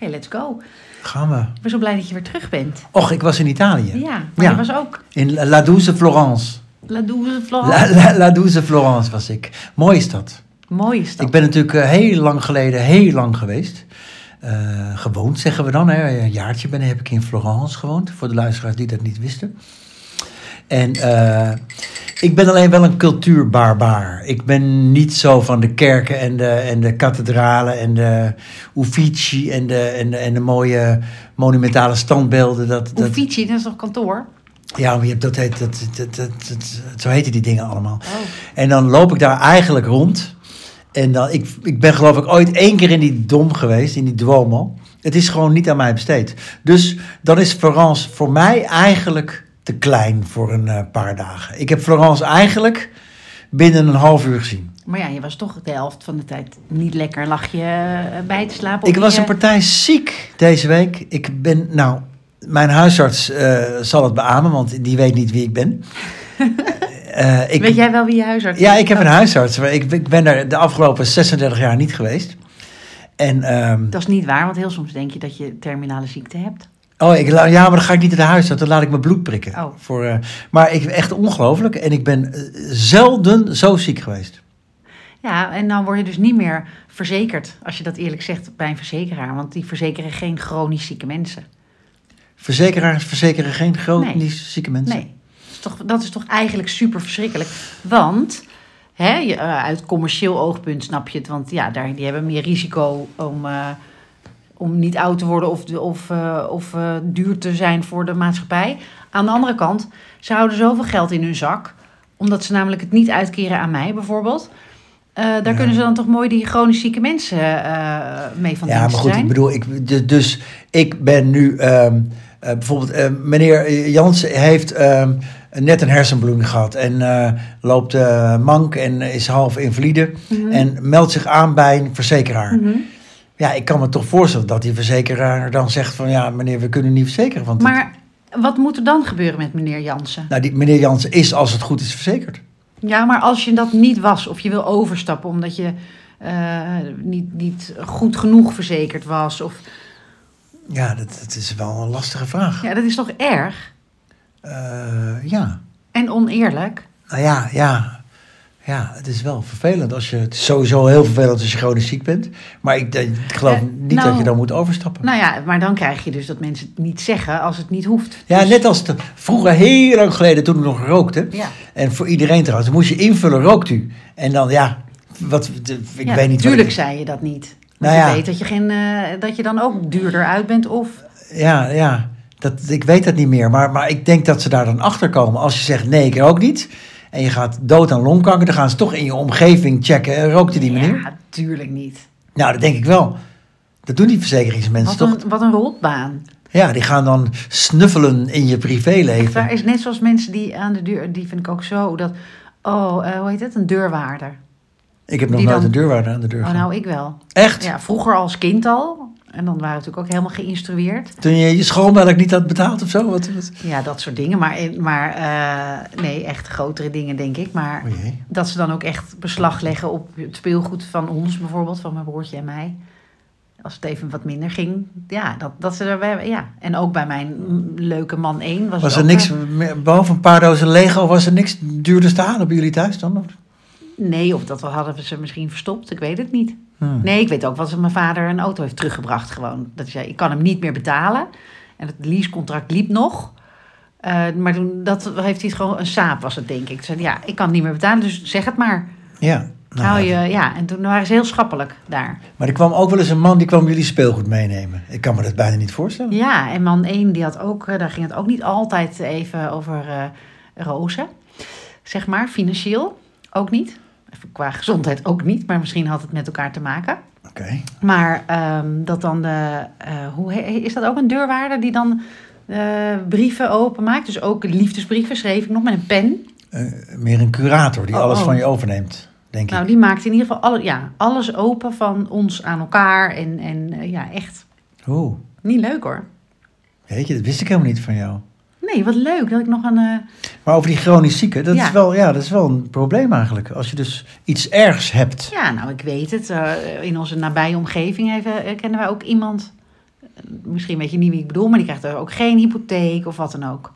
let's go. Gaan we. Ik ben zo blij dat je weer terug bent. Och, ik was in Italië. Ja, maar je was ook Oh. In La- La Douce Florence. La Douze La, La, La Douce Florence was ik. Mooi is dat. Mooi is dat. Ik ben natuurlijk eh, heel lang geleden, heel lang geweest. Eh, gewoond zeggen we dan. Hè. Een jaartje ben, heb ik in Florence gewoond. Voor de luisteraars die dat niet wisten. En eh, ik ben alleen wel een cultuurbarbaar. Ik ben niet zo van de kerken en de, en de kathedralen en de Uffizi en de, en de, en de mooie monumentale standbeelden. Dat, dat, Uffizi, dat is toch kantoor? ja, maar je hebt, dat heet, dat, dat, dat, dat- zo heten die dingen allemaal. Oh. En dan loop ik daar eigenlijk rond. En dan, ik, ik ben geloof ik ooit één keer in die dom geweest, in die Duomo. Het is gewoon niet aan mij besteed. Dus dan is Florence voor mij eigenlijk te klein voor een eh, paar dagen. Ik heb Florence eigenlijk binnen een half uur gezien. Maar ja, je was toch de helft van de tijd niet lekker. Lag je eh, bij te slapen? Ik of was je- een partij ziek deze week. Ik ben, nou, mijn huisarts eh, zal het beamen, want die weet niet wie ik ben. Eh, ik, Weet jij wel wie je huisarts Ja, is? ik heb een huisarts. Maar ik, ik ben daar de afgelopen 36 jaar niet geweest. En, ehm, Dat is niet waar, want heel soms denk je dat je terminale ziekte hebt. oh, ik, la- ja, maar dan ga ik niet naar de huisarts. Dan laat ik mijn bloed prikken. Oh. Voor, eh, maar ik, echt ongelooflijk. En ik ben eh, zelden zo ziek geweest. Ja, en dan word je dus niet meer verzekerd, als je dat eerlijk zegt, bij een verzekeraar. Want die verzekeren geen chronisch zieke mensen. Verzekeraars verzekeren geen chronisch Nee. zieke mensen. Nee, dat is toch, dat is toch eigenlijk super verschrikkelijk. Want hè, je, eh, uit commercieel oogpunt snap je het. Want ja, daar, die hebben meer risico om, eh, om niet oud te worden of, de- of, eh, of eh, duur te zijn voor de maatschappij. Aan de andere kant, ze houden zoveel geld in hun zak. Omdat ze namelijk het niet uitkeren aan mij bijvoorbeeld. Eh, daar Ja. kunnen ze dan toch mooi die chronisch zieke mensen eh, mee van ja, maar dienst goed, zijn. ik bedoel, ik, dus- dus ik ben nu ehm, eh, bijvoorbeeld, eh, meneer Jansen heeft ehm, net een hersenbloeding gehad en eh, loopt eh, mank en is half invalide en meldt zich aan bij een verzekeraar. Mhm. Ja, ik kan me toch voorstellen dat die verzekeraar dan zegt van ja, meneer, we kunnen u niet verzekeren. Want het- Maar wat moet er dan gebeuren met meneer Jansen? nou, die, meneer Jansen is als het goed is verzekerd. Ja, maar als je dat niet was of je wil overstappen omdat je eh, niet, niet goed genoeg verzekerd was. Of, Ja, dat, dat is wel een lastige vraag. ja, dat is toch erg Eh, ja. en oneerlijk? Nou ja, ja. Ja, het is wel vervelend als je. Het is sowieso heel vervelend als je chronisch ziek bent. Maar ik, denk- ik geloof Eh, niet nou- dat je dan moet overstappen. Nou ja, maar dan krijg je dus dat mensen het niet zeggen als het niet hoeft. ja, Dus- net als de, vroeger, heel lang geleden, toen ik nog rookte. Ja. En voor iedereen trouwens, dan moest je invullen, rookt u? En dan, ja, wat, de- ik Ja, weet niet. wat Tuurlijk ik- zei je dat niet. Want Nou je ja. weet dat je, geen, eh, dat je dan ook duurder uit bent of... ja, ja dat, ik weet dat niet meer. Maar, maar ik denk dat ze daar dan achter komen. Als je zegt, nee, ik rook niet. En je gaat dood aan longkanker, dan gaan ze toch in je omgeving checken. eh, Rookte die meneer? Ja, tuurlijk niet. Nou, dat denk ik wel. Dat doen die verzekeringsmensen Wat toch? een, wat een rotbaan. Ja, die gaan dan snuffelen in je Echt privéleven. waar, is net zoals mensen die aan de deur... Die vind ik ook zo dat... Oh, eh, hoe heet het? Een deurwaarder. Ik heb nog Die nooit dan- een deurwaarder aan de deur Oh, gehad. nou, ik wel. Echt? Ja, vroeger als kind al. En dan waren we natuurlijk ook helemaal geïnstrueerd. Toen je je schoolmelk niet had betaald of zo? Wat, wat? Ja, dat soort dingen. Maar, maar eh, nee, echt grotere dingen, denk ik. Maar O jee. dat ze dan ook echt beslag leggen op het speelgoed van ons bijvoorbeeld. Van mijn broertje en mij. Als het even wat minder ging. Ja, dat, dat ze daarbij... Ja, en ook bij mijn mm, leuke man één was, het Was er ook, niks, eh, meer- behalve een paar dozen Lego, was er niks duurders te halen bij jullie thuis dan? Of- Nee, of dat hadden we ze misschien verstopt. Ik weet het niet. Hmm. Nee, ik weet ook wel dat mijn vader een auto heeft teruggebracht gewoon. Dat zei, ik kan hem niet meer betalen. En het leasecontract liep nog. Eh, maar toen, dat heeft hij het gewoon, een saap was het denk ik. Toen zei hij, ja, ik kan het niet meer betalen, dus zeg het maar. Ja. Nou, Hou je, ja. En toen waren ze heel schappelijk daar. Maar er kwam ook wel eens een man die kwam jullie speelgoed meenemen. Ik kan me dat bijna niet voorstellen. Ja, en man 1, die had ook, eh, daar ging het ook niet altijd even over eh, rozen. Zeg maar, financieel ook niet. Even qua gezondheid ook niet, maar misschien had het met elkaar te maken. Oké. Maar ehm, dat dan de. eh, hoe he- is dat ook een deurwaarder die dan eh, brieven openmaakt? Dus ook liefdesbrieven schreef ik nog met een pen. Eh, meer een curator die Oh, alles oh. van je overneemt, denk Nou, ik. die maakte in ieder geval alle, ja, alles open van ons aan elkaar. En, en eh, ja, echt Oeh, niet leuk hoor. weet je, dat wist ik helemaal niet van jou. Nee, wat leuk dat ik nog een. eh, Maar over die chronisch zieken, dat, Ja. is wel, ja, dat is wel een probleem eigenlijk. Als je dus iets ergs hebt. ja, nou, ik weet het. eh, in onze nabije omgeving even, eh, kennen wij ook iemand misschien weet je niet wie ik bedoel, maar die krijgt er ook geen hypotheek of wat dan ook.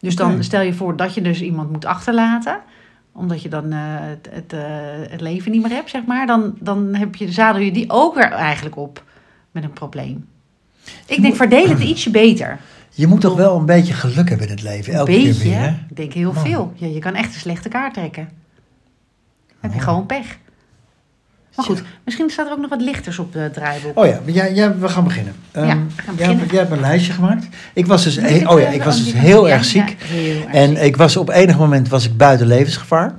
Dus dan Oké. stel je voor dat je dus iemand moet achterlaten, omdat je dan eh, het, het, eh, het leven niet meer hebt, zeg maar. Dan, dan heb je, zadel je die ook weer eigenlijk op met een probleem. Ik denk, verdeel het ietsje beter. Je moet toch wel een beetje geluk hebben in het leven. Een Elke beetje. keer weer, hè? Ik denk heel Man. veel. Ja, je kan echt een slechte kaart trekken. Dan heb je Mooi. gewoon pech. Maar goed, misschien staat er ook nog wat lichters op het draaiboek. Oh ja, maar jij, jij- we gaan beginnen. Ehm, Ja, we gaan beginnen. Jij, jij hebt een lijstje gemaakt. Ik was dus, Moet he- oh ja, eh, ik was dus die- heel ja, erg ziek. ja, heel erg En ziek. ik was op enig moment was ik buiten levensgevaar.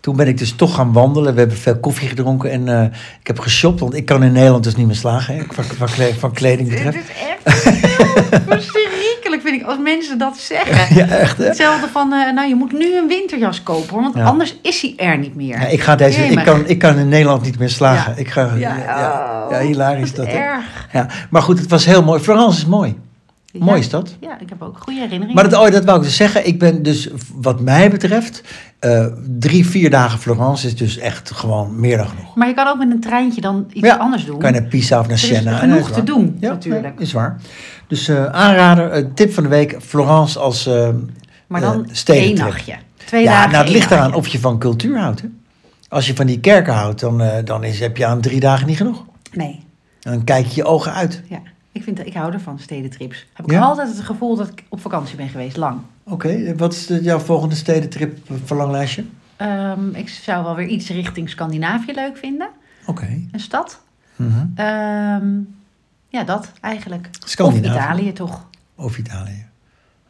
Toen ben ik dus toch gaan wandelen. We hebben veel koffie gedronken en eh, ik heb geshopt. Want ik kan in Nederland dus niet meer slagen. Hè, van, van, kle- van kleding Dit betreft. is echt heel verschrikkelijk, vind ik, als mensen dat zeggen. Ja, echt hè? Hetzelfde van, eh, nou je moet nu een winterjas kopen hoor, want Ja. anders is hij er niet meer. Ja, Nou, ik, ga deze, ik, Jemig. kan, ik kan in Nederland niet meer slagen. Ja. Ik ga, ja, Ja, ja, oh, ja, hilarisch dat. hè. Erg. Ja, maar goed, het was heel mooi. Florence is mooi. Ja. Mooi is dat. Ja, ik heb ook goede herinneringen. Maar dat, oh, dat wou ik dus zeggen. Ik ben dus, wat mij betreft, eh, drie, vier dagen Florence is dus echt gewoon meer dan genoeg. Maar je kan ook met een treintje dan iets Ja, anders doen. Kan je naar Pisa of naar Er is Siena. genoeg dat te waar. doen, natuurlijk. nee, is waar. Dus eh, aanrader, eh, tip van de week, Florence als eh Maar eh, dan één stedentrip. nachtje. Twee ja, dagen. nou, het één ligt eraan nachtje. of je van cultuur houdt. Hè? Als je van die kerken houdt, dan, eh, dan is, heb je aan drie dagen niet genoeg. Nee, Dan kijk je je ogen uit. ja. Ik, vind, dat- ik hou ervan, stedentrips. Heb ik Ja? altijd het gevoel dat ik op vakantie ben geweest, lang. Oké, wat is de- jouw volgende stedentrip eh, verlanglijstje? Ehm, ik zou wel weer iets richting Scandinavië leuk vinden. Oké. Een stad. Mhm. Ehm, ja, dat eigenlijk. Of Scandinavië. Italië toch. Of Italië.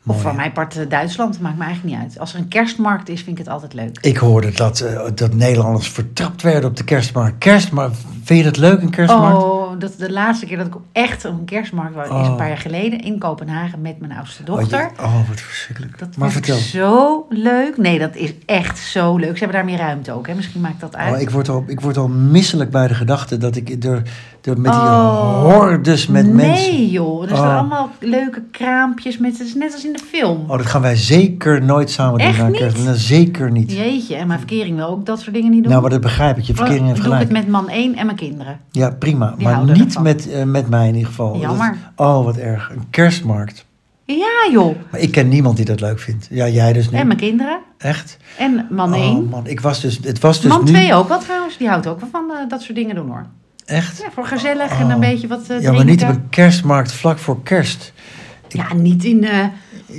Of Mooi, van hè? mijn part eh, Duitsland, maakt me eigenlijk niet uit. Als er een kerstmarkt is, vind ik het altijd leuk. Ik hoorde dat, eh, dat Nederlanders vertrapt werden op de kerstmarkt. Kerstmarkt, vind je dat leuk, een kerstmarkt? Oh, dat, de laatste keer dat ik op echt op een kerstmarkt was, is Oh. een paar jaar geleden in Kopenhagen met mijn oudste Oh, dochter. je- Oh, wat verschrikkelijk. dat maar vind vertel. ik zo leuk. Nee, dat is echt zo leuk. Ze hebben daar meer ruimte ook, hè? misschien maakt dat uit. Oh, ik, word al, ik word al misselijk bij de gedachte dat ik door, door met die Oh. hordes met nee, mensen... joh, er staan Oh. allemaal leuke kraampjes met, het is net als in de film. Oh, dat gaan wij zeker nooit samen Echt doen. na niet? kerst. Nou, zeker niet. Jeetje, en mijn verkering wil ook dat soort dingen niet doen. Oh, Nou, maar dat begrijp ik. Je verkering heeft doe ik gelijk. het met man 1 en mijn kinderen. Ja, prima. Die maar houden niet ervan. met, eh, met mij in ieder geval. Dat- Jammer. oh, wat erg. Een kerstmarkt. Ja, joh. Maar ik ken niemand die dat leuk vindt. Ja, jij dus niet. En mijn kinderen. Echt? En man oh, 1. man. Ik was dus, het was dus man nu... 2 ook wel trouwens. Die houdt ook wel van eh, dat soort dingen doen hoor. Echt? Ja, voor gezellig en een Oh. beetje wat eh ja, maar niet op drinken. een kerstmarkt vlak voor kerst. Ja, niet in eh,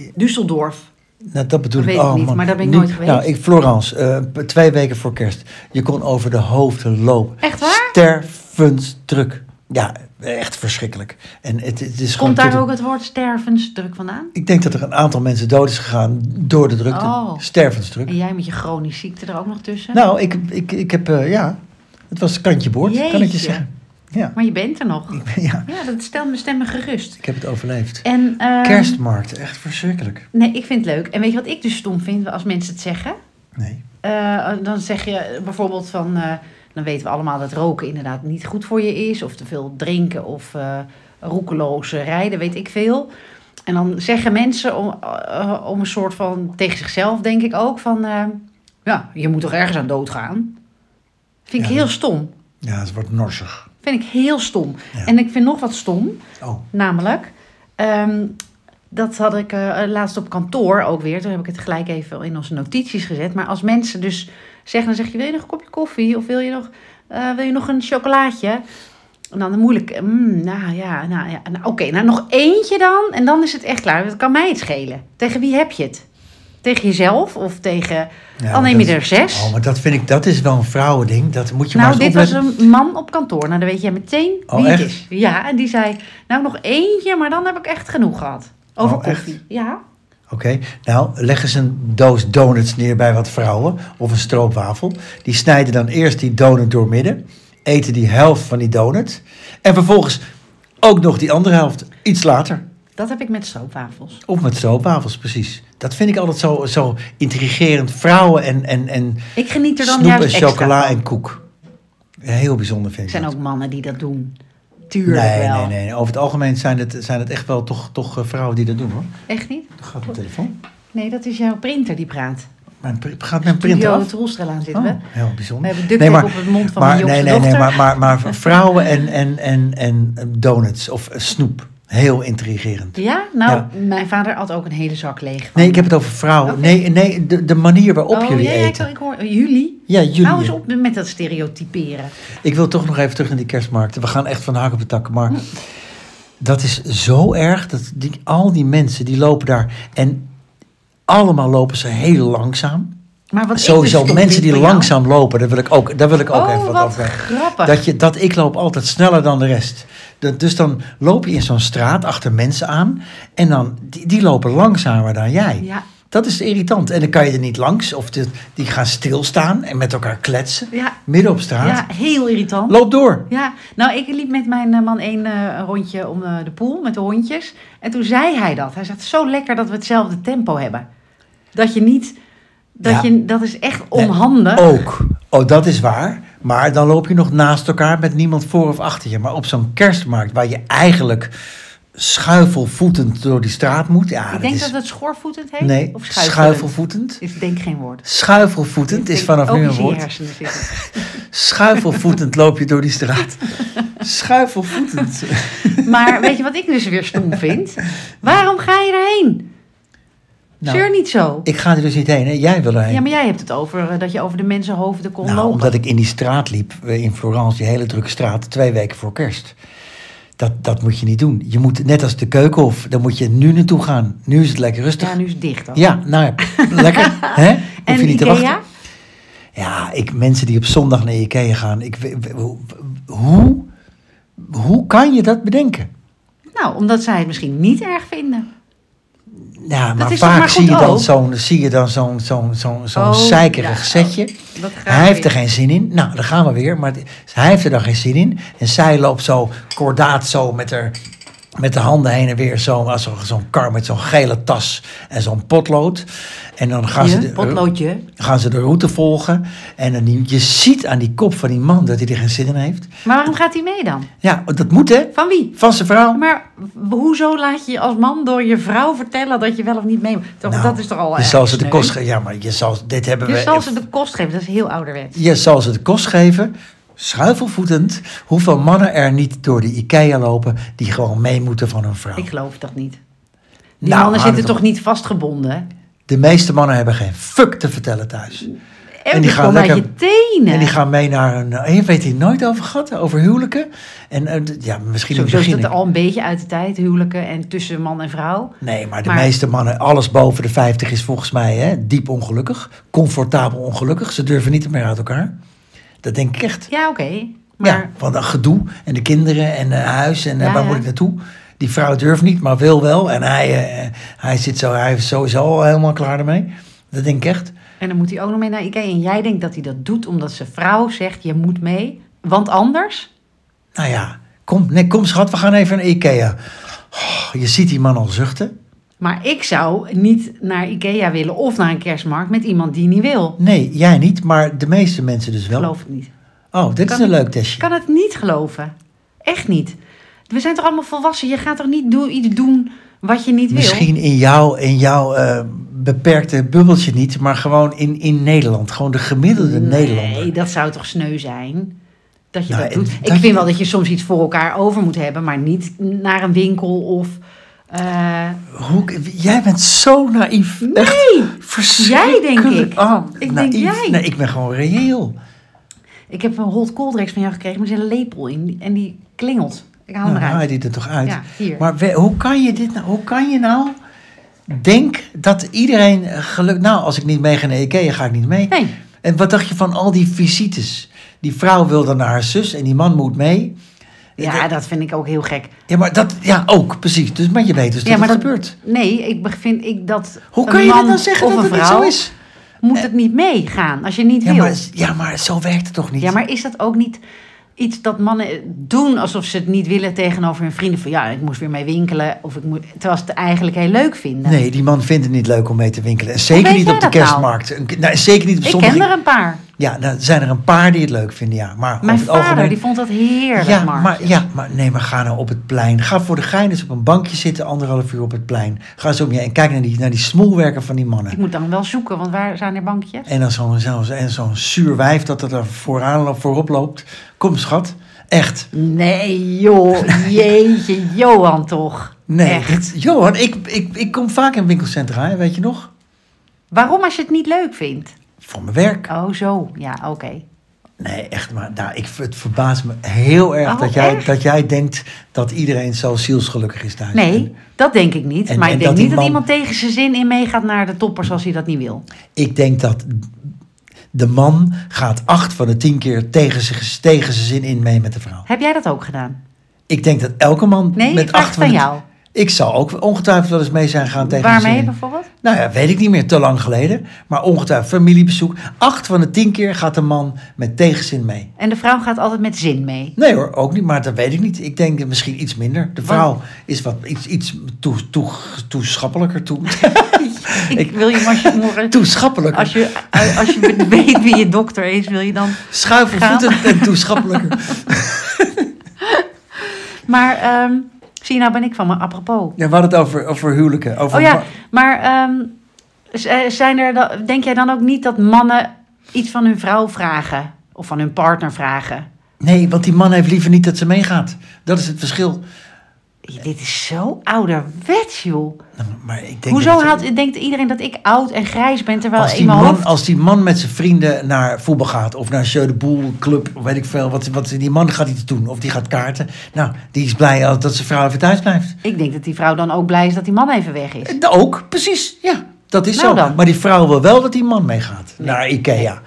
Düsseldorf. Nou, dat bedoel Dat weet ik. ik oh, niet, man. maar daar ben ik Nu- nooit geweest. Nou, ik, Florence, eh, p- twee weken voor kerst. Je kon over de hoofden lopen. Echt waar? Stervensdruk. Ja, echt verschrikkelijk. En het, het is gewoon Komt daar tot- ook het woord stervensdruk vandaan? Ik denk dat er een aantal mensen dood is gegaan door de drukte. Oh. Stervensdruk. En jij met je chronische ziekte er ook nog tussen? Nou, ik, ik, ik heb, eh, ja, het was kantje boord, kan ik je Jeetje. zeggen. Ja, Maar je bent er nog. ik, ben- ja, Ja, dat stelt me stemmen gerust. ik heb het overleefd. En, ehm, Kerstmarkt, echt verschrikkelijk. Nee, ik vind het leuk. En weet je wat ik dus stom vind als mensen het zeggen? Nee. Eh, dan zeg je bijvoorbeeld van, eh, dan weten we allemaal dat roken inderdaad niet goed voor je is, of te veel drinken of eh roekeloos rijden, weet ik veel. En dan zeggen mensen om, eh, om een soort van tegen zichzelf, denk ik ook, van eh, ja, je moet toch ergens aan doodgaan. Vind ik Ja. heel stom. Ja, het wordt norsig. Vind ik heel stom. Ja. En ik vind nog wat stom, Oh, namelijk. ehm, dat had ik eh, laatst op kantoor ook weer. Toen heb ik het gelijk even in onze notities gezet. Maar als mensen dus zeggen, dan zeg je, wil je nog een kopje koffie? Of wil je nog, eh, wil je nog een chocolaatje? En dan moeilijk, eh, mm, nou ja, nou ja. Nou, Oké, nou nog eentje dan. En dan is het echt klaar. Dat kan mij het schelen. Tegen wie heb je het? Tegen jezelf? Of tegen, Ja, al maar neem je dat- er zes? oh, maar dat vind ik, dat is wel een vrouwending. Dat moet je nou, maar eens dit was opletten. een man op kantoor. Nou, dan weet jij meteen Oh, wie het echt? is. Ja, en die zei, nou nog eentje, maar dan heb ik echt genoeg gehad. Over Oh, echt? koffie. Ja. Oké, nou leg eens een doos donuts neer bij wat vrouwen of een stroopwafel. Die snijden dan eerst die donut doormidden, eten die helft van die donut en vervolgens ook nog die andere helft iets later. Dat heb ik met stroopwafels. Of met stroopwafels, precies. Dat vind ik altijd zo, zo intrigerend. Vrouwen en, en, en Ik geniet er dan snoep en juist extra chocola van. en koek. Heel bijzonder vind Er ik zijn dat. ook mannen die dat doen. Tuurlijk nee, wel. nee, nee, nee. Over het algemeen zijn het, zijn het echt wel toch, toch eh, vrouwen die dat doen hoor. Echt niet? Gaat mijn telefoon? Nee, dat is jouw printer die praat. Mijn, pri- gaat mijn printer Studio af? het Roelstraal aan zitten Oh, we. heel We bijzonder. hebben duct Nee, tape maar- op het mond van maar, mijn jongste nee, nee, nee, dochter. maar, maar, maar vrouwen en, en, en, en donuts of eh, snoep. Heel intrigerend. Ja? Nou, mijn vader had ook een hele zak leeg. van- Nee, ik heb het over vrouwen. Oké. Nee, nee de, de manier waarop oh, jullie ja, ja, ik, eten. ik hoor, jullie. Ja, jullie. Hou eens op met dat stereotyperen. Ik wil toch nog even terug naar die kerstmarkt. We gaan echt van de hak op de tak. Maar dat is zo erg. Dat die, al die mensen die lopen daar. En allemaal lopen ze heel langzaam. Maar wat ik Sowieso dus stom mensen vind die van jou- langzaam lopen. Daar wil ik ook, daar wil ik ook Oh, even wat wat over hebben. grappig. Dat, je, dat ik loop altijd sneller dan de rest. Dat, dus dan loop je in zo'n straat achter mensen aan. En dan, die, die lopen langzamer dan jij. Ja. Dat is irritant. En dan kan je er niet langs. Of de- die gaan stilstaan en met elkaar kletsen. Ja. Midden op straat. ja, heel irritant. Loop door. Ja, nou, ik liep met mijn eh, man één eh, rondje om eh, de pool met de hondjes. En toen zei hij dat. Hij zegt, zo lekker dat we hetzelfde tempo hebben. Dat je niet... Dat, Ja. je, dat is echt onhandig. Ook. Oh, dat is waar. Maar dan loop je nog naast elkaar met niemand voor of achter je. Maar op zo'n kerstmarkt waar je eigenlijk schuifelvoetend door die straat moet. Ja, ik denk is, dat het schoorvoetend heet. Nee, of schuifelend. schuifelvoetend. Is denk geen woord. Schuifelvoetend is Ik- vanaf ook nu een iets in je woord. hersenen zitten. Schuifelvoetend loop je door die straat. Schuifelvoetend. Maar weet je wat ik dus weer stom vind? Waarom ga je erheen? Nou, Zeur niet zo. ik ga er dus niet heen. Hè? Jij wil erheen. Ja, maar jij hebt het over eh, dat je over de mensenhoofden kon Nou, lopen. omdat ik in die straat liep, eh, in Florence, die hele drukke straat, twee weken voor kerst. Dat, dat moet je niet doen. Je moet, net als de keukenhof, daar moet je nu naartoe gaan. Nu is het lekker rustig. Ja, Ja, nu is het dicht dan. nou ja, lekker. Hè? Hoef en je niet te wachten. Ikea? Ja, ik, mensen die op zondag naar Ikea gaan. Ik, we- we- hoe- hoe, hoe kan je dat bedenken? Nou, omdat zij het misschien niet erg vinden. Ja, maar is toch vaak maar goed zie, je dan ook? zo'n, zie je dan zo'n, zo'n, zo'n, zo'n Oh, zeikerig ja. setje. Dat graag Hij heeft weer. er geen zin in. Nou, daar gaan we weer. Maar het- hij heeft er dan geen zin in. En zij loopt zo kordaat zo met, haar, met de handen heen en weer. Zo, als zo- zo'n kar met zo'n gele tas en zo'n potlood. En dan gaan, ze Je de, potloodje. gaan ze de route volgen. En dan, die- je ziet aan die kop van die man dat hij er geen zin in heeft. Maar waarom gaat hij mee dan? Ja, dat moet hè. Van wie? Van zijn vrouw. Maar w- hoezo laat je je als man door je vrouw vertellen dat je wel of niet mee mag? Toch, Nou, dat is toch al Je erg zal ze de sneu? kost ge- Ja, maar je zal, dit hebben Je we zal ze de kost geven, dat is heel ouderwets. Je zal ze de kost geven, schuifelvoetend, hoeveel mannen er niet door de IKEA lopen die gewoon mee moeten van hun vrouw. Ik geloof dat niet. Die Nou, mannen hou zitten het op. toch niet vastgebonden? De meeste mannen hebben geen fuck te vertellen thuis. En, die die gaan komen uit lekker- je tenen. En die gaan mee naar een. eh, Je weet hier nooit over gehad, over huwelijken. En eh, d- ja, misschien in het Sowieso is begin. dat niet. al een beetje uit de tijd, huwelijken en tussen man en vrouw. Nee, maar de Maar- meeste mannen, alles boven de 50 is volgens mij hè, diep ongelukkig. Comfortabel ongelukkig. Ze durven niet meer uit elkaar. Dat denk ik echt. Ja, oké. Maar ja, want dat gedoe en de kinderen en eh, huis en eh, Ja, waar ja. moet ik naartoe? Die vrouw durft niet, maar wil wel. En hij, eh, hij, zit zo, hij is sowieso al helemaal klaar ermee. Dat denk ik echt. En dan moet hij ook nog mee naar Ikea. En jij denkt dat hij dat doet omdat zijn vrouw zegt, je moet mee. Want anders? Nou ja, kom, nee, kom schat, we gaan even naar Ikea. Oh, je ziet die man al zuchten. Maar ik zou niet naar Ikea willen of naar een kerstmarkt met iemand die niet wil. Nee, jij niet, maar de meeste mensen dus wel. Geloof ik niet. Oh, dit Kan- is een leuk testje. Ik kan het niet geloven. Echt niet. We zijn toch allemaal volwassen? Je gaat toch niet doen, iets doen wat je niet wil? Misschien in jouw, in jouw eh, beperkte bubbeltje niet, maar gewoon in, in Nederland. Gewoon de gemiddelde Nederlander. Nee, dat zou toch sneu zijn? Dat je Nou, dat en doet. dat ik je- vind wel dat je soms iets voor elkaar over moet hebben, maar niet naar een winkel of... eh, Hoe, jij bent zo naïef. Echt. nee! Verschrikkelijk. Jij, denk ik. Ah, Ik naïef. denk jij. Nee, ik ben gewoon reëel. Nou, Ik heb een hot coldrex van jou gekregen, maar er zit een lepel in en die klingelt. Ik haal hem nou, haal eruit. je dit er toch uit. Ja, hier. Maar we- hoe kan je dit nou? Hoe kan je nou? Denk dat iedereen eh, geluk. Nou, als ik niet mee ga naar Ikea, ga ik niet mee. Nee. En wat dacht je van al die visites? Die vrouw wil dan naar haar zus en die man moet mee. Ja, dat vind ik ook heel gek. Ja, maar dat, ja, ook, precies. Dus, maar je weet dus dat ja, maar het gebeurt. Nee, ik be- vind ik dat. Hoe een kan je man dit dan zeggen of dat een het niet vrouw zo is? Eh. Moet het niet meegaan als je niet Ja wil. maar, ja, maar zo werkt het toch niet? Ja, maar is dat ook niet iets dat mannen doen alsof ze het niet willen tegenover hun vrienden? Van ja, ik moest weer mee winkelen. Of ik moet, terwijl ze het eigenlijk heel leuk vinden. Nee, die man vindt het niet leuk om mee te winkelen. En zeker Nou. weet niet jij op de dat nou? kerstmarkt. Een- nou, zeker niet op ik zondag. ken er een paar. Ja, nou, zijn er een paar die het leuk vinden, ja. Maar Mijn over het vader, algemeen... die vond dat heerlijk, ja, Mark. maar, ja, maar nee, maar ga nou op het plein. Ga voor de gein eens op een bankje zitten, anderhalf uur op het plein. Ga eens om je en kijk naar die, naar die smoelwerken van die mannen. Ik moet dan wel zoeken, want waar zijn er bankjes? En dan zo'n zo, en zo'n zuur wijf dat er daar vooraan lo- voorop loopt. Kom, schat. Echt. Nee, joh. Jeetje, Johan toch. Nee, Echt. dit- Johan, ik, ik, ik kom vaak in winkelcentra, hè, weet je nog? Waarom als je het niet leuk vindt? Voor mijn werk. Oh, zo. Ja, oké. Nee, echt, maar nou, ik, het verbaast me heel erg Oh, dat, jij, echt? dat jij denkt dat iedereen zo zielsgelukkig is thuis. Nee, dat denk ik niet. en- maar en ik denk niet dat die dat man- iemand tegen zijn zin in meegaat naar de toppers als hij dat niet wil. Ik denk dat de man gaat acht van de tien keer tegen zijn, tegen zijn zin in mee met de vrouw. Heb jij dat ook gedaan? Ik denk dat elke man Nee, met ik vraag het acht van aan de- jou. Ik zou ook ongetwijfeld wel eens mee zijn gaan tegen zijn Waarmee zin in. bijvoorbeeld? Nou ja, weet ik niet meer, te lang geleden. Maar ongetwijfeld familiebezoek. Acht van de tien keer gaat de man met tegenzin mee. En de vrouw gaat altijd met zin mee. Nee hoor, ook niet, maar dat weet ik niet. Ik denk eh, misschien iets minder. De vrouw is wat iets, iets toe, toe, toeschappelijker. Toe, Ik, wil je maar als je morgen... toeschappelijker. Als je, als je weet wie je dokter is, wil je dan... Schuiven Gaan. voeten en toeschappelijker. Maar ehm, zie je, nou ben ik van me apropos. Ja, we hadden het over, over huwelijken. Over Oh ja, ma- maar ehm, z- eh, zijn er dan, denk jij dan ook niet dat mannen iets van hun vrouw vragen? Of van hun partner vragen? Nee, want die man heeft liever niet dat ze meegaat. Dat is het verschil. Dit is zo ouderwets, joh. Nou, Maar ik denk dat Hoezo het- haalt, denkt iedereen dat ik oud en grijs ben, terwijl als in die, mijn man, hoofd... als die man met zijn vrienden naar voetbal gaat, of naar Jeu de Boel Club, weet ik veel, wat, wat, die man gaat iets doen, of die gaat kaarten. Nou, die is blij als- dat zijn vrouw even thuis blijft. Ik denk dat die vrouw dan ook blij is dat die man even weg is. Eh, Ook, precies, ja, dat is Nou zo. dan. Maar die vrouw wil wel dat die man meegaat naar Ikea.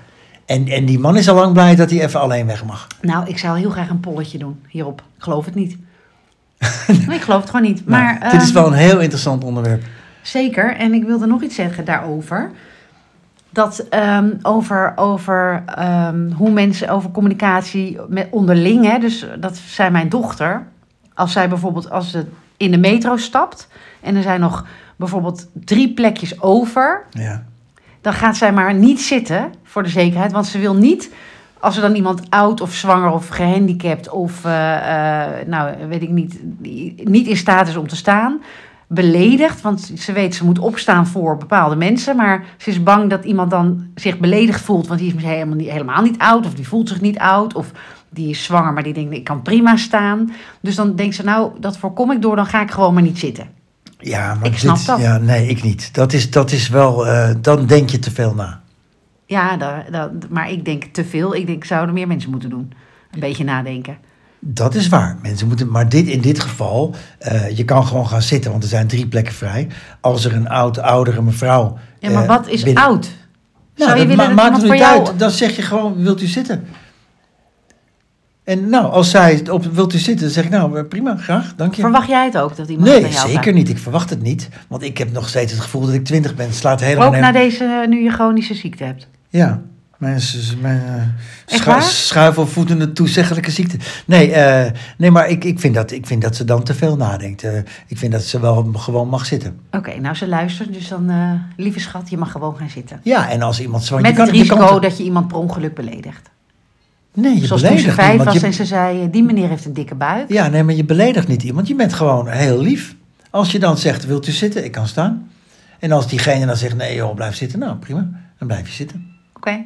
En, en die man is al lang blij dat hij even alleen weg mag. Nou, ik zou heel graag een polletje doen hierop. Ik geloof het niet. nee, ik geloof het gewoon niet. Nou, Maar, dit is ehm, wel een heel interessant onderwerp. Zeker, en ik wilde nog iets zeggen daarover. Dat ehm, over, over ehm, hoe mensen over communicatie met onderling, hè, dus dat zei mijn dochter. Als zij bijvoorbeeld als ze in de metro stapt en er zijn nog bijvoorbeeld drie plekjes over, Ja. dan gaat zij maar niet zitten voor de zekerheid. Want ze wil niet, als er dan iemand oud of zwanger of gehandicapt of, eh, eh, nou weet ik niet, die niet in staat is om te staan, beledigd. Want ze weet ze moet opstaan voor bepaalde mensen. Maar ze is bang dat iemand dan zich beledigd voelt. Want die is misschien helemaal niet, helemaal niet oud of die voelt zich niet oud. Of die is zwanger, maar die denkt ik kan prima staan. Dus dan denkt ze nou, dat voorkom ik door, dan ga ik gewoon maar niet zitten. Ja, maar Ik dit- snap dat. Ja, nee, ik niet. Dat is, dat is wel, eh, dan denk je te veel na. Ja, daar, daar- maar ik denk te veel. Ik denk, zouden meer mensen moeten doen. Een beetje nadenken. Dat is waar. Mensen moeten, maar dit, in dit geval, eh, je kan gewoon gaan zitten, want er zijn drie plekken vrij. Als er een oud, oudere mevrouw. Ja, maar eh, wat is binnen- oud? Zou Nou, je dat willen ma- dat iemand maakt het voor niet jou... uit. Dan zeg je gewoon, wilt u zitten? En nou, als zij op wilt u zitten, dan zeg ik nou, eh, prima, graag, dank je. Verwacht jij het ook dat iemand nee, bij jou zeker niet. Ik verwacht het niet. Want ik heb nog steeds het gevoel dat ik twintig ben. Het slaat helemaal Ook na nergens- deze, eh, nu je chronische ziekte hebt. Ja, mijn, s- s- mijn eh, Echt schu- waar? schuifelvoetende toezeggelijke ziekte. Nee, eh, nee maar ik, ik, vind dat, ik vind dat ze dan te veel nadenkt. Eh, ik vind dat ze wel gewoon mag zitten. Oké, nou ze luistert, dus dan, eh, lieve schat, je mag gewoon gaan zitten. Ja, en als iemand zwanger... Met je het kan- je kan risico toch- dat je iemand per ongeluk beledigt. Nee, je Zoals toen ze beledigt vijf niemand. was en Je, ze zei, eh, die meneer heeft een dikke buik. ja, nee, maar je beledigt niet iemand. Je bent gewoon heel lief. Als je dan zegt, wilt u zitten? Ik kan staan. En als diegene dan zegt, nee joh, blijf zitten. Nou, prima. Dan blijf je zitten. Oké.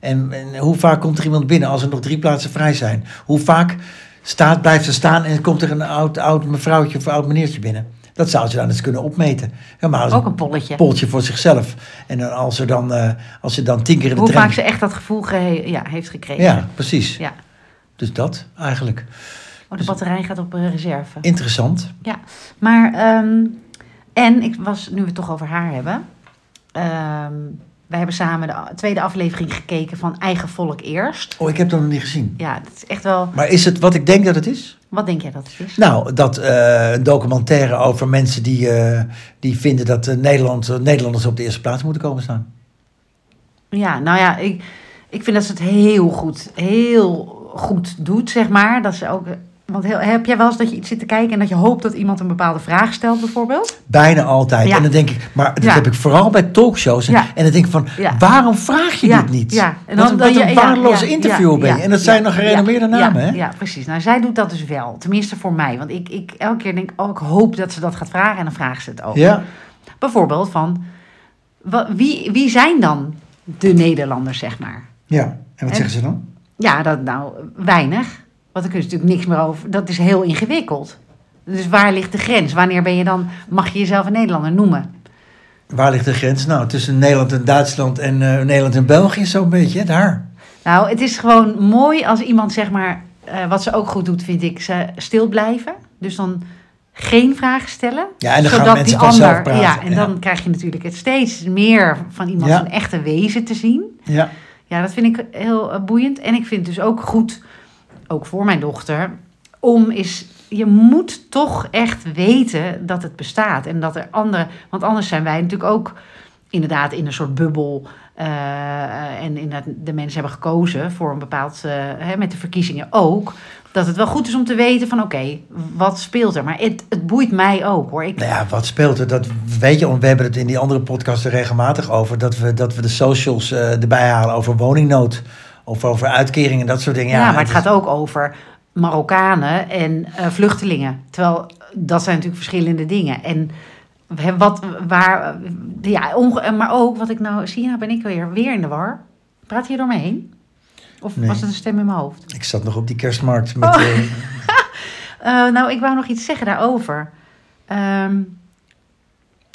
En, en hoe vaak komt er iemand binnen als er nog drie plaatsen vrij zijn? Hoe vaak staat, blijft ze staan en komt er een oud, oud mevrouwtje of oud meneertje binnen? Dat zou ze dan eens kunnen opmeten. Helemaal als Ook een een polletje. poltje voor zichzelf. En dan als, er dan, eh, als ze dan tien keer in de Hoe trein... vaak ze echt dat gevoel ge- ja, heeft gekregen. Ja, precies. Ja. Dus dat eigenlijk. Oh, de batterij gaat op eh, reserve. Interessant. Ja, maar ehm, en ik was, nu we het toch over haar hebben. ehm, wij hebben samen de a- tweede aflevering gekeken van Eigen Volk Eerst. Oh, ik heb dat nog niet gezien. Ja, dat is echt wel. Maar is het wat ik denk dat het is? Wat denk jij dat het is? Nou, dat eh, een documentaire over mensen die, eh, die vinden dat eh, Nederland, Nederlanders op de eerste plaats moeten komen staan. Ja, nou ja, ik, ik vind dat ze het heel goed, heel goed doet, zeg maar. Dat ze ook. Want heel, heb jij wel eens dat je iets zit te kijken en dat je hoopt dat iemand een bepaalde vraag stelt, bijvoorbeeld? Bijna altijd. Ja. En dan denk ik, maar dat Ja. heb ik vooral bij talkshows. En, Ja. en dan denk ik van, Ja. waarom vraag je Ja, dit niet? ja. En dan- En wat, een- dan- wat ja, een ja, waardeloze ja, interviewer ja, ben je. en dat ja, zijn nog ja, gerenommeerde ja, namen, hè? Ja, precies. Nou, zij doet dat dus wel. Tenminste voor mij. Want ik, ik elke keer denk, oh, ik hoop dat ze dat gaat vragen en dan vraagt ze het ook. Ja. Bijvoorbeeld van, wa- wie, wie zijn dan de Nederlanders, zeg maar? ja. En wat En- zeggen ze dan? Ja, dat nou, weinig. Want dan kun je natuurlijk niks meer over. Dat is heel ingewikkeld. Dus waar ligt de grens? Wanneer ben je dan, mag je jezelf een Nederlander noemen? Waar ligt de grens? Nou, tussen Nederland en Duitsland en eh, Nederland en België, zo'n beetje, daar. Nou, het is gewoon mooi als iemand, zeg maar, eh, wat ze ook goed doet, vind ik, ze stil blijven. Dus dan geen vragen stellen. Ja, en dan gaan zodat mensen die vanzelf ander, praten, Ja, en ja. dan krijg je natuurlijk het steeds meer van iemand Ja. zijn echte wezen te zien. Ja, Ja, dat vind ik heel eh, boeiend. En ik vind het dus ook goed, ook voor mijn dochter, om is. Je moet toch echt weten dat het bestaat en dat er anderen. Want anders zijn wij natuurlijk ook inderdaad in een soort bubbel. eh, en inderdaad, de mensen hebben gekozen voor een bepaald. eh, hè, met de verkiezingen ook. Dat het wel goed is om te weten van oké, wat speelt er? Maar het, het boeit mij ook hoor. Ik, Nou ja, wat speelt er? Dat weet je, want we hebben het in die andere podcasts er regelmatig over. Dat we, dat we de socials eh, erbij halen over woningnood. Of over uitkeringen en dat soort dingen. Ja, maar het is- gaat ook over Marokkanen en eh, vluchtelingen. Terwijl eh, dat zijn natuurlijk verschillende dingen. En hè, wat, waar, eh, ja, onge- eh, maar ook wat ik nou zie, nou ben ik weer, weer in de war. Praat je door me heen? Of Nee. was het een stem in mijn hoofd? Ik zat nog op die kerstmarkt met... Oh. eh, Eh, nou, ik wou nog iets zeggen daarover. Ehm,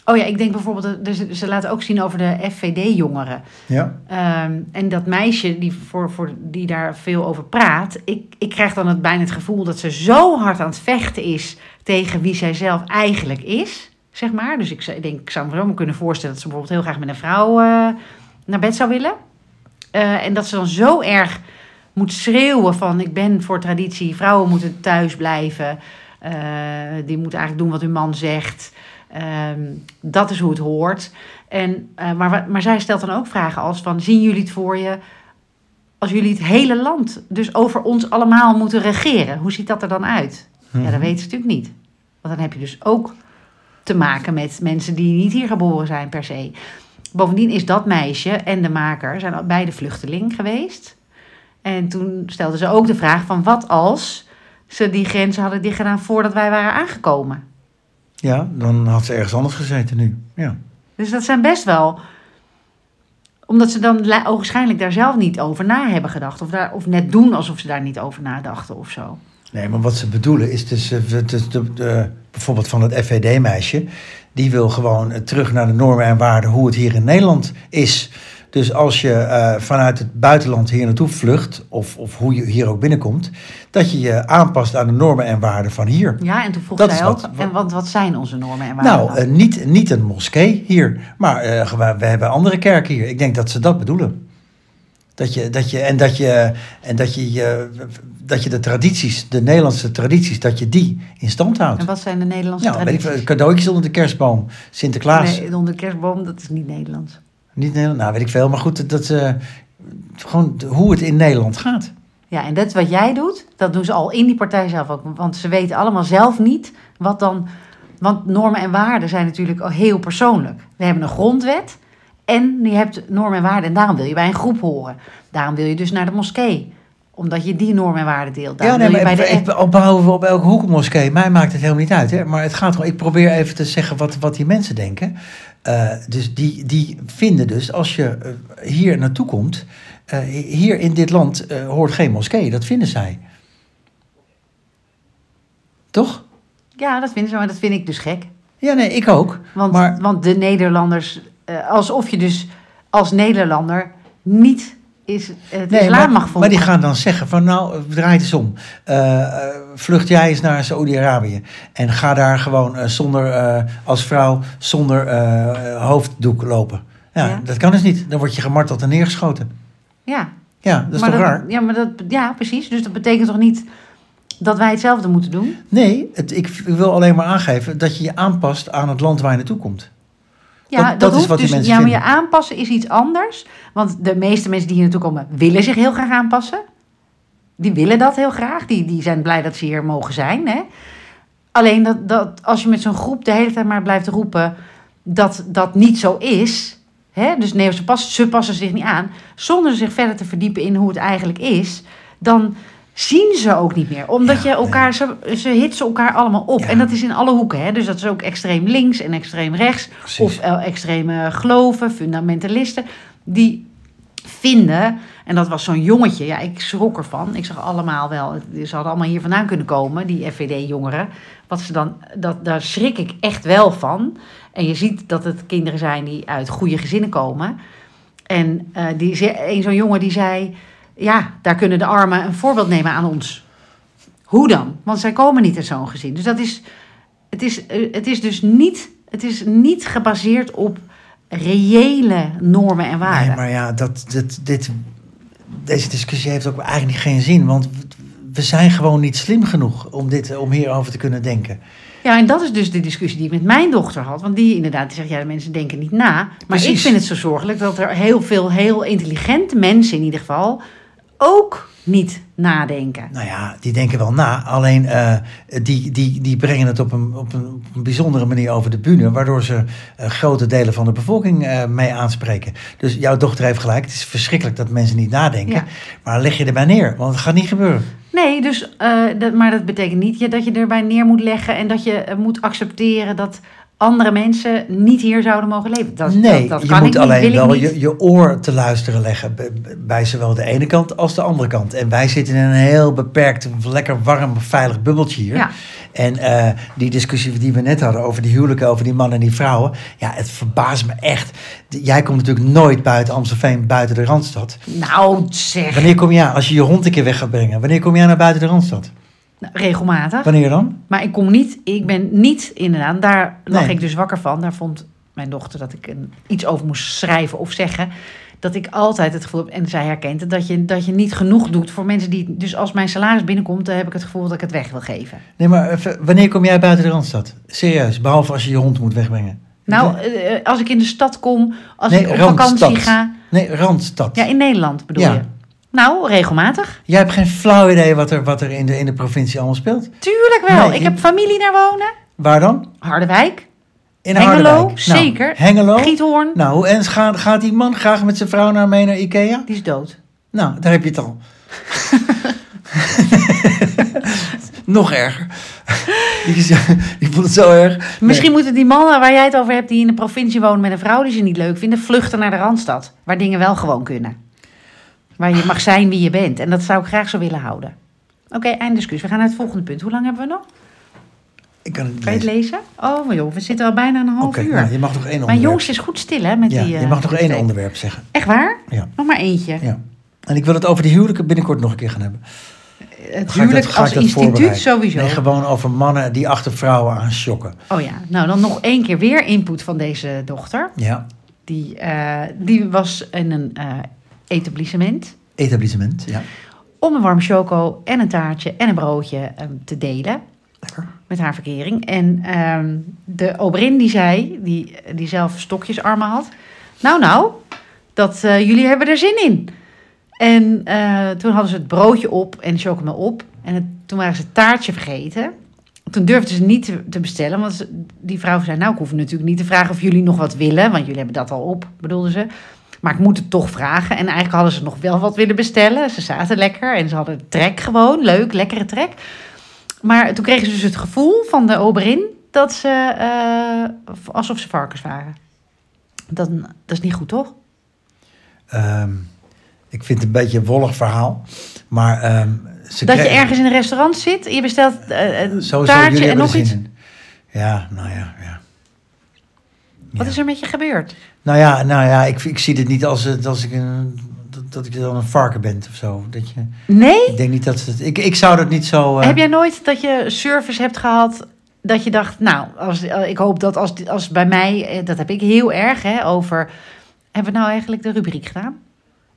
oh ja, ik denk bijvoorbeeld, eh, dus ze laten ook zien over de FVD-jongeren. ja? Ehm, en dat meisje die, voor, voor, die daar veel over praat, ik, ik krijg dan het, bijna het gevoel dat ze zo hard aan het vechten is tegen wie zij zelf eigenlijk is. Zeg maar. Dus ik, zou- ik denk, ik zou me zo maar kunnen voorstellen dat ze bijvoorbeeld heel graag met een vrouw eh, naar bed zou willen. Eh, en dat ze dan zo erg moet schreeuwen van ik ben voor traditie, vrouwen moeten thuis blijven. eh, die moeten eigenlijk doen wat hun man zegt. Ehm, dat is hoe het hoort. En, eh, maar, wa- maar zij stelt dan ook vragen als van zien jullie het voor je als jullie het hele land dus over ons allemaal moeten regeren? Hoe ziet dat er dan uit? hm. Ja, Mhm. dat weten ze natuurlijk niet. Want dan heb je dus ook te maken met mensen die niet hier geboren zijn per se. Bovendien is dat meisje en de maker zijn al beide vluchteling geweest. En toen stelden ze ook de vraag van wat als ze die grenzen hadden dichtgedaan voordat wij waren aangekomen. ja, dan had ze ergens anders gezeten nu. Ja. Dus dat zijn best wel omdat ze dan la- ogenschijnlijk daar zelf niet over na hebben gedacht. Of, daar, of net doen alsof ze daar niet over nadachten of zo. Nee, maar wat ze bedoelen is dus... eh, het is de, de- bijvoorbeeld van dat FVD-meisje. Die wil gewoon eh, terug naar de normen en waarden hoe het hier in Nederland is. Dus als je eh, vanuit het buitenland hier naartoe vlucht... Of, of hoe je hier ook binnenkomt... dat je je aanpast aan de normen en waarden van hier. Ja, en toen vroeg Dat is zij ook, wat- en want wat zijn onze normen en waarden? Nou, dan? eh, niet, niet een moskee hier, maar eh, we, we hebben andere kerken hier. Ik denk dat ze dat bedoelen. Dat je, dat je, en dat je, en dat je, je- dat je de tradities, de Nederlandse tradities, dat je die in stand houdt. en wat zijn de Nederlandse Nou, weet ik, veel, tradities? cadeautjes onder de kerstboom, Sinterklaas, Nee, onder de kerstboom, dat is niet Nederlands. niet Nederland, nou weet ik veel. Maar goed, dat, dat eh, gewoon hoe het in Nederland gaat. Ja, en dat wat jij doet, dat doen ze al in die partij zelf ook. Want ze weten allemaal zelf niet wat dan... Want normen en waarden zijn natuurlijk al heel persoonlijk. We hebben een grondwet en je hebt normen en waarden. En daarom wil je bij een groep horen. Daarom wil je dus naar de moskee. Omdat je die normen en waarden deelt. Daarom wil je bij maar de... ik, ik bouwen we op elke hoek een moskee. Mij maakt het helemaal niet uit. Hè? Maar het gaat gewoon, ik probeer even te zeggen wat, wat die mensen denken. Eh, dus die, die vinden dus, als je eh, hier naartoe komt, eh, hier in dit land eh, hoort geen moskee. Dat vinden zij. Toch? Ja, dat vinden ze, maar dat vind ik dus gek. Ja, nee, ik ook. Want, Maar- want de Nederlanders, eh, alsof je dus als Nederlander niet is, het islam maar, mag volgen. maar die gaan dan zeggen van nou, eh, draai het eens om. Eh, eh, vlucht jij eens naar Saoedi-Arabië. En ga daar gewoon eh, zonder, eh, als vrouw zonder eh, hoofddoek lopen. Ja, Ja. Dat kan dus niet. Dan word je gemarteld en neergeschoten. Ja, Ja, dat is maar toch dat- raar? Ja, maar dat, ja, precies. Dus dat betekent toch niet dat wij hetzelfde moeten doen? Nee, het, ik wil alleen maar aangeven dat je je aanpast aan het land waar je naartoe komt. Ja, Dat- dat is hoeft wat die dus, mensen Ja, maar je vinden. aanpassen is iets anders. Want de meeste mensen die hier naartoe komen, willen zich heel graag aanpassen. Die willen dat heel graag. Die, die zijn blij dat ze hier mogen zijn. Hè? Alleen dat, dat als je met zo'n groep de hele tijd maar blijft roepen dat dat niet zo is. Hè? Dus nee, ze passen, ze passen zich niet aan. Zonder zich verder te verdiepen in hoe het eigenlijk is. Dan zien ze ook niet meer. Omdat Ja, je elkaar, ze, ze hitsen elkaar allemaal op. Ja. En dat is in alle hoeken. Hè? Dus dat is ook extreem links en extreem rechts. Precies. Of eh, extreme geloven, fundamentalisten. Die vinden. En dat was zo'n jongetje. Ja, ik schrok ervan. Ik zag allemaal wel, ze hadden allemaal hier vandaan kunnen komen, die FVD-jongeren. Wat ze dan, dat, daar schrik ik echt wel van. En je ziet dat het kinderen zijn die uit goede gezinnen komen. En eh, die, ze- een zo'n jongen die zei, ja, daar kunnen de armen een voorbeeld nemen aan ons. Hoe dan? Want zij komen niet uit zo'n gezin. Dus dat is, het is, eh, het is dus niet, het is niet gebaseerd op reële normen en waarden. Nee, maar ja, dat, dat, dit, deze discussie heeft ook eigenlijk geen zin. Want we zijn gewoon niet slim genoeg om, dit, om hierover te kunnen denken. Ja, en dat is dus de discussie die ik met mijn dochter had. Want die inderdaad die zegt, ja, de mensen denken niet na. Maar ik Precies. vind het zo zorgelijk dat er heel veel heel intelligente mensen in ieder geval ook niet nadenken. Nou ja, die denken wel na. Alleen eh, die, die, die brengen het op een, op, een, op een bijzondere manier over de bühne. Waardoor ze eh, grote delen van de bevolking eh, mee aanspreken. Dus jouw dochter heeft gelijk. Het is verschrikkelijk dat mensen niet nadenken. Ja. Maar leg je erbij neer, want het gaat niet gebeuren. Nee, dus, eh, dat, maar dat betekent niet ja, dat je erbij neer moet leggen en dat je eh, moet accepteren dat andere mensen niet hier zouden mogen leven. Dat, nee, dat, dat je kan moet ik niet, alleen wil ik wel niet. je, je oor te luisteren leggen. b- b- Bij zowel de ene kant als de andere kant. En wij zitten in een heel beperkt, lekker warm, veilig bubbeltje hier. Ja. En eh, die discussie die we net hadden over die huwelijken, over die mannen en die vrouwen. Ja, het verbaast me echt. D- Jij komt natuurlijk nooit buiten Amstelveen, buiten de Randstad. Nou zeg, Wanneer kom je aan? Als je je hond een keer weg gaat brengen. Wanneer kom jij naar buiten de Randstad? Nou, regelmatig. Wanneer dan? Maar ik kom niet, ik ben niet inderdaad, daar lag Nee. ik dus wakker van. Daar vond mijn dochter dat ik een, iets over moest schrijven of zeggen. Dat ik altijd het gevoel heb, en zij herkent het, dat je, dat je niet genoeg doet voor mensen die. Dus als mijn salaris binnenkomt, dan heb ik het gevoel dat ik het weg wil geven. Nee, maar even, wanneer kom jij buiten de Randstad? Serieus, behalve als je je hond moet wegbrengen. Nou, eh, eh, als ik in de stad kom, als Nee, ik op Randstad. vakantie ga. Nee, Randstad. Ja, in Nederland bedoel Ja. je. Nou, regelmatig. Jij hebt geen flauw idee wat er, wat er in, de, in de provincie allemaal speelt. Tuurlijk wel. Nee, ik je- heb familie daar wonen. Waar dan? Harderwijk, In Hengelo, Harderwijk. Nou, zeker. Hengelo. Giethoorn. Nou, en gaat, gaat die man graag met zijn vrouw naar mee naar Ikea? Die is dood. Nou, daar heb je het al. Nog erger. Die, is- die vond het zo erg. Nee. Misschien moeten die mannen waar jij het over hebt, die in de provincie wonen met een vrouw die ze niet leuk vinden, vluchten naar de randstad. Waar dingen wel gewoon kunnen. Waar je mag zijn wie je bent. En dat zou ik graag zo willen houden. Oké, eind discussie. We gaan naar het volgende punt. Hoe lang hebben we nog? Ik kan het niet Kan je het lezen. lezen? Oh, maar joh, we zitten al bijna een half Oké, uur. nou, je mag nog één Mijn onderwerp. jongste is goed stil, hè? Met ja, die, eh, je mag nog één update. onderwerp zeggen. Echt waar? Ja. Nog maar eentje. ja. En ik wil het over die huwelijken binnenkort nog een keer gaan hebben. Het Ga ik dat- huwelijk ga ik als dat instituut voorbereiden? sowieso. Nee, gewoon over mannen die achter vrouwen aan shocken. Oh ja, nou dan nog één keer weer input van deze dochter. Ja, Die, eh, die was in een eh, etablissement. etablissement. Ja. om een warm choco en een taartje en een broodje ehm, te delen Lekker. met haar verkering. En ehm, de oberin die zei, die, die zelf stokjesarmen had... Nou, nou, dat, eh, jullie hebben er zin in. En eh, toen hadden ze het broodje op en de chocomel op. En het- toen waren ze het taartje vergeten. Toen durfden ze niet te, te bestellen, want ze- die vrouw zei... Nou, ik hoef natuurlijk niet te vragen of jullie nog wat willen... want jullie hebben dat al op, bedoelde ze. Maar ik moet het toch vragen. En eigenlijk hadden ze nog wel wat willen bestellen. Ze zaten lekker en ze hadden trek gewoon. Leuk, lekkere trek. Maar toen kregen ze dus het gevoel van de oberin... dat ze eh, alsof ze varkens waren. Dat, dat is niet goed, toch? Ehm, ik vind het een beetje een wollig verhaal. Maar ehm, ze Dat je kregen- ergens in een restaurant zit, je bestelt eh, een Sowieso, jullie taartje en hebben nog er iets. zin in. Ja, nou ja. ja. Wat Ja. is er met je gebeurd? Nou ja, nou ja ik, ik zie dit niet als, eh, als ik een, dat, dat ik dan een varken ben of zo. Dat je, Nee? ik denk niet dat ze het- ik, ik zou dat niet zo. eh, Heb jij nooit dat je service hebt gehad dat je dacht, nou, als, eh, ik hoop dat als, als bij mij, eh, dat heb ik heel erg, hè, over, hebben we nou eigenlijk de rubriek gedaan?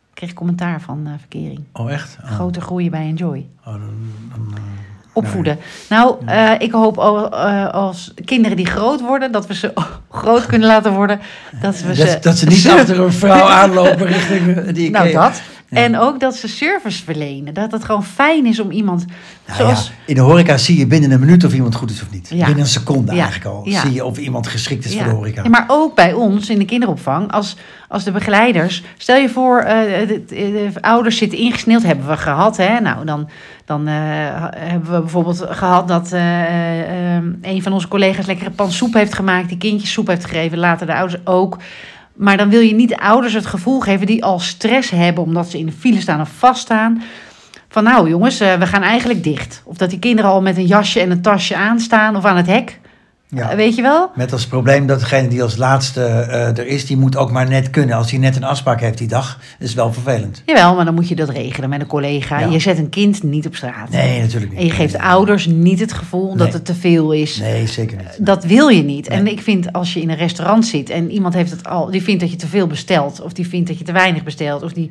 Ik kreeg commentaar van eh, verkering. Oh, echt? Oh, Groter groeien bij Enjoy. oh, dan- dan, eh, Opvoeden. Nou, eh, ik hoop al- eh, als kinderen die groot worden, dat we ze groot kunnen laten worden. Dat, we ze, dat, dat ze niet achter een vrouw aanlopen richting die ik Nou, dat. En ook dat ze service verlenen. Dat het gewoon fijn is om iemand zoals... Nou ja, in de horeca zie je binnen een minuut of iemand goed is of niet. Ja. Binnen een seconde Ja. eigenlijk al. Ja. Zie je of iemand geschikt is voor de horeca. Ja, maar ook bij ons in de kinderopvang, als, als de begeleiders. Stel je voor, eh, de, de- de ouders zitten ingesneeld, hebben we gehad. Hè? Nou, dan, dan eh, ha- hebben we bijvoorbeeld gehad dat ehm, eh, eh, een van onze collega's lekkere pan soep heeft gemaakt, die kindjes soep heeft gegeven, later de ouders ook. Maar dan wil je niet de ouders het gevoel geven die al stress hebben omdat ze in de file staan of vaststaan. Van nou jongens, eh, we gaan eigenlijk dicht. Of dat die kinderen al met een jasje en een tasje aanstaan of aan het hek. Ja. Eh, Weet je wel? Met als probleem dat degene die als laatste eh, er is, die moet ook maar net kunnen. Als hij net een afspraak heeft die dag, is wel vervelend. Jawel, maar dan moet je dat regelen met een collega. Ja. Je zet een kind niet op straat. Nee, natuurlijk niet. En je geeft Nee. ouders niet het gevoel dat Nee. het te veel is. Nee, zeker niet. Dat wil je niet. En Nee. ik vind als je in een restaurant zit en iemand heeft het al, die vindt dat je te veel bestelt, of die vindt dat je te weinig bestelt, of die,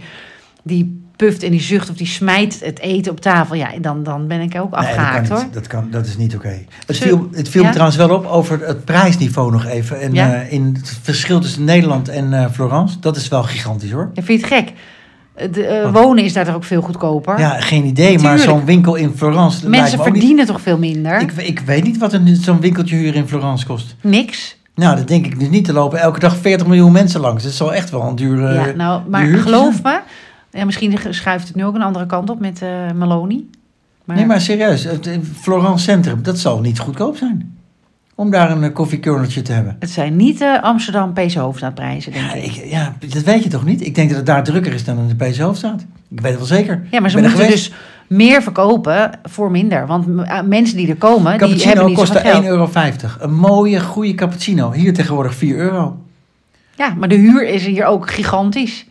die puft en die zucht, of die smijt het eten op tafel, ja, dan, dan ben ik ook Nee, dat kan afgehaakt niet. hoor. Dat, kan, dat is niet oké. Het Zo- viel, het viel ja? me trouwens wel op over het prijsniveau nog even. En, Ja. eh, in het verschil tussen Nederland en eh, Florence, dat is wel gigantisch hoor. Ja, vind je het gek? De, eh, Wat? wonen is daar toch ook veel goedkoper? Ja, geen idee, maar Tuurlijk. zo'n winkel in Florence... dat lijkt Mensen me ook niet- verdienen toch veel minder? Ik, ik weet niet wat een- zo'n winkeltje huur in Florence kost. Niks. Nou, dat denk ik dus niet. Er lopen elke dag 40 miljoen mensen langs. Dat zal echt wel een dure... Ja, nou, maar huurtjes geloof me. Ja, misschien schuift het nu ook een andere kant op met eh Maloney. Maar, Nee, maar serieus. Het eh, Florence Centrum, dat zal niet goedkoop zijn. Om daar een eh, koffiekörneltje te hebben. het zijn niet de Amsterdam PC Hoofdstadprijzen, denk Ja, ik. ik, ja, dat weet je toch niet? Ik denk dat het daar drukker is dan in de PC Hoofdstraat. Ik weet het wel zeker. Ja, maar ze Ik ben er moeten geweest. dus meer verkopen voor minder. Want m- eh, mensen die er komen, die hebben Cappuccino niet zoveel kostte 1,50 geld. euro. Een mooie, goede cappuccino. Hier tegenwoordig 4 euro. Ja, maar de huur is hier ook gigantisch.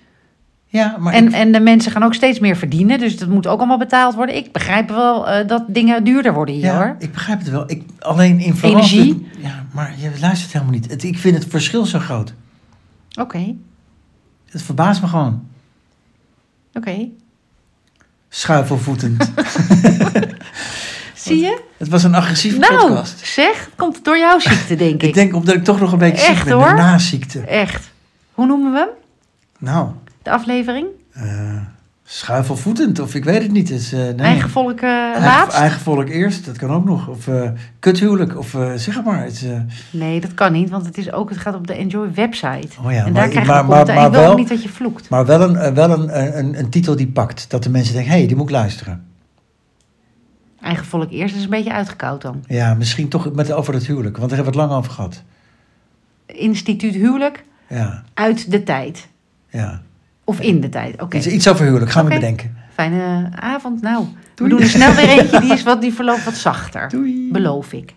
Ja, maar En, ik- en de mensen gaan ook steeds meer verdienen. Dus dat moet ook allemaal betaald worden. Ik begrijp wel eh, dat dingen duurder worden hier, ja, hoor. ik begrijp het wel. Ik, alleen in Florence... Energie? Ja, maar je luistert helemaal niet. Het, ik vind het verschil zo groot. Oké, Het verbaast me gewoon. oké. Schuifelvoetend. Zie je? het was een agressieve Nou, podcast. zeg, het komt door jouw ziekte, denk ik. Ik denk omdat ik toch nog een beetje Echt, ziek ben. hoor. Een naziekte. Echt. Hoe noemen we hem? Nou, De aflevering? eh, schuifelvoetend of ik weet het niet. Dus, eh, nee. Eigen volk eh, Eigen- laatst? eigen volk eerst, dat kan ook nog. Of eh kuthuwelijk, of eh, zeg het maar. Het, is, eh, Nee, dat kan niet, want het, is ook, het gaat op de Enjoy website. oh ja, en daar maar, krijg je maar, content. maar, En maar ik wil ook wel, niet dat je vloekt. maar wel, een, eh, wel een, een, een titel die pakt. Dat de mensen denken, hé, hey, die moet ik luisteren. Eigen volk eerst is een beetje uitgekoud dan. Ja, misschien toch met, over het huwelijk, want daar hebben we het lang over gehad. Instituut huwelijk Ja, uit de tijd. ja. Of in de tijd. Oké, Iets, iets over huwelijk, gaan Oké. we bedenken. fijne avond. Nou, we doen er snel weer eentje. Die is wat, die verloopt wat zachter. Doei. Beloof ik.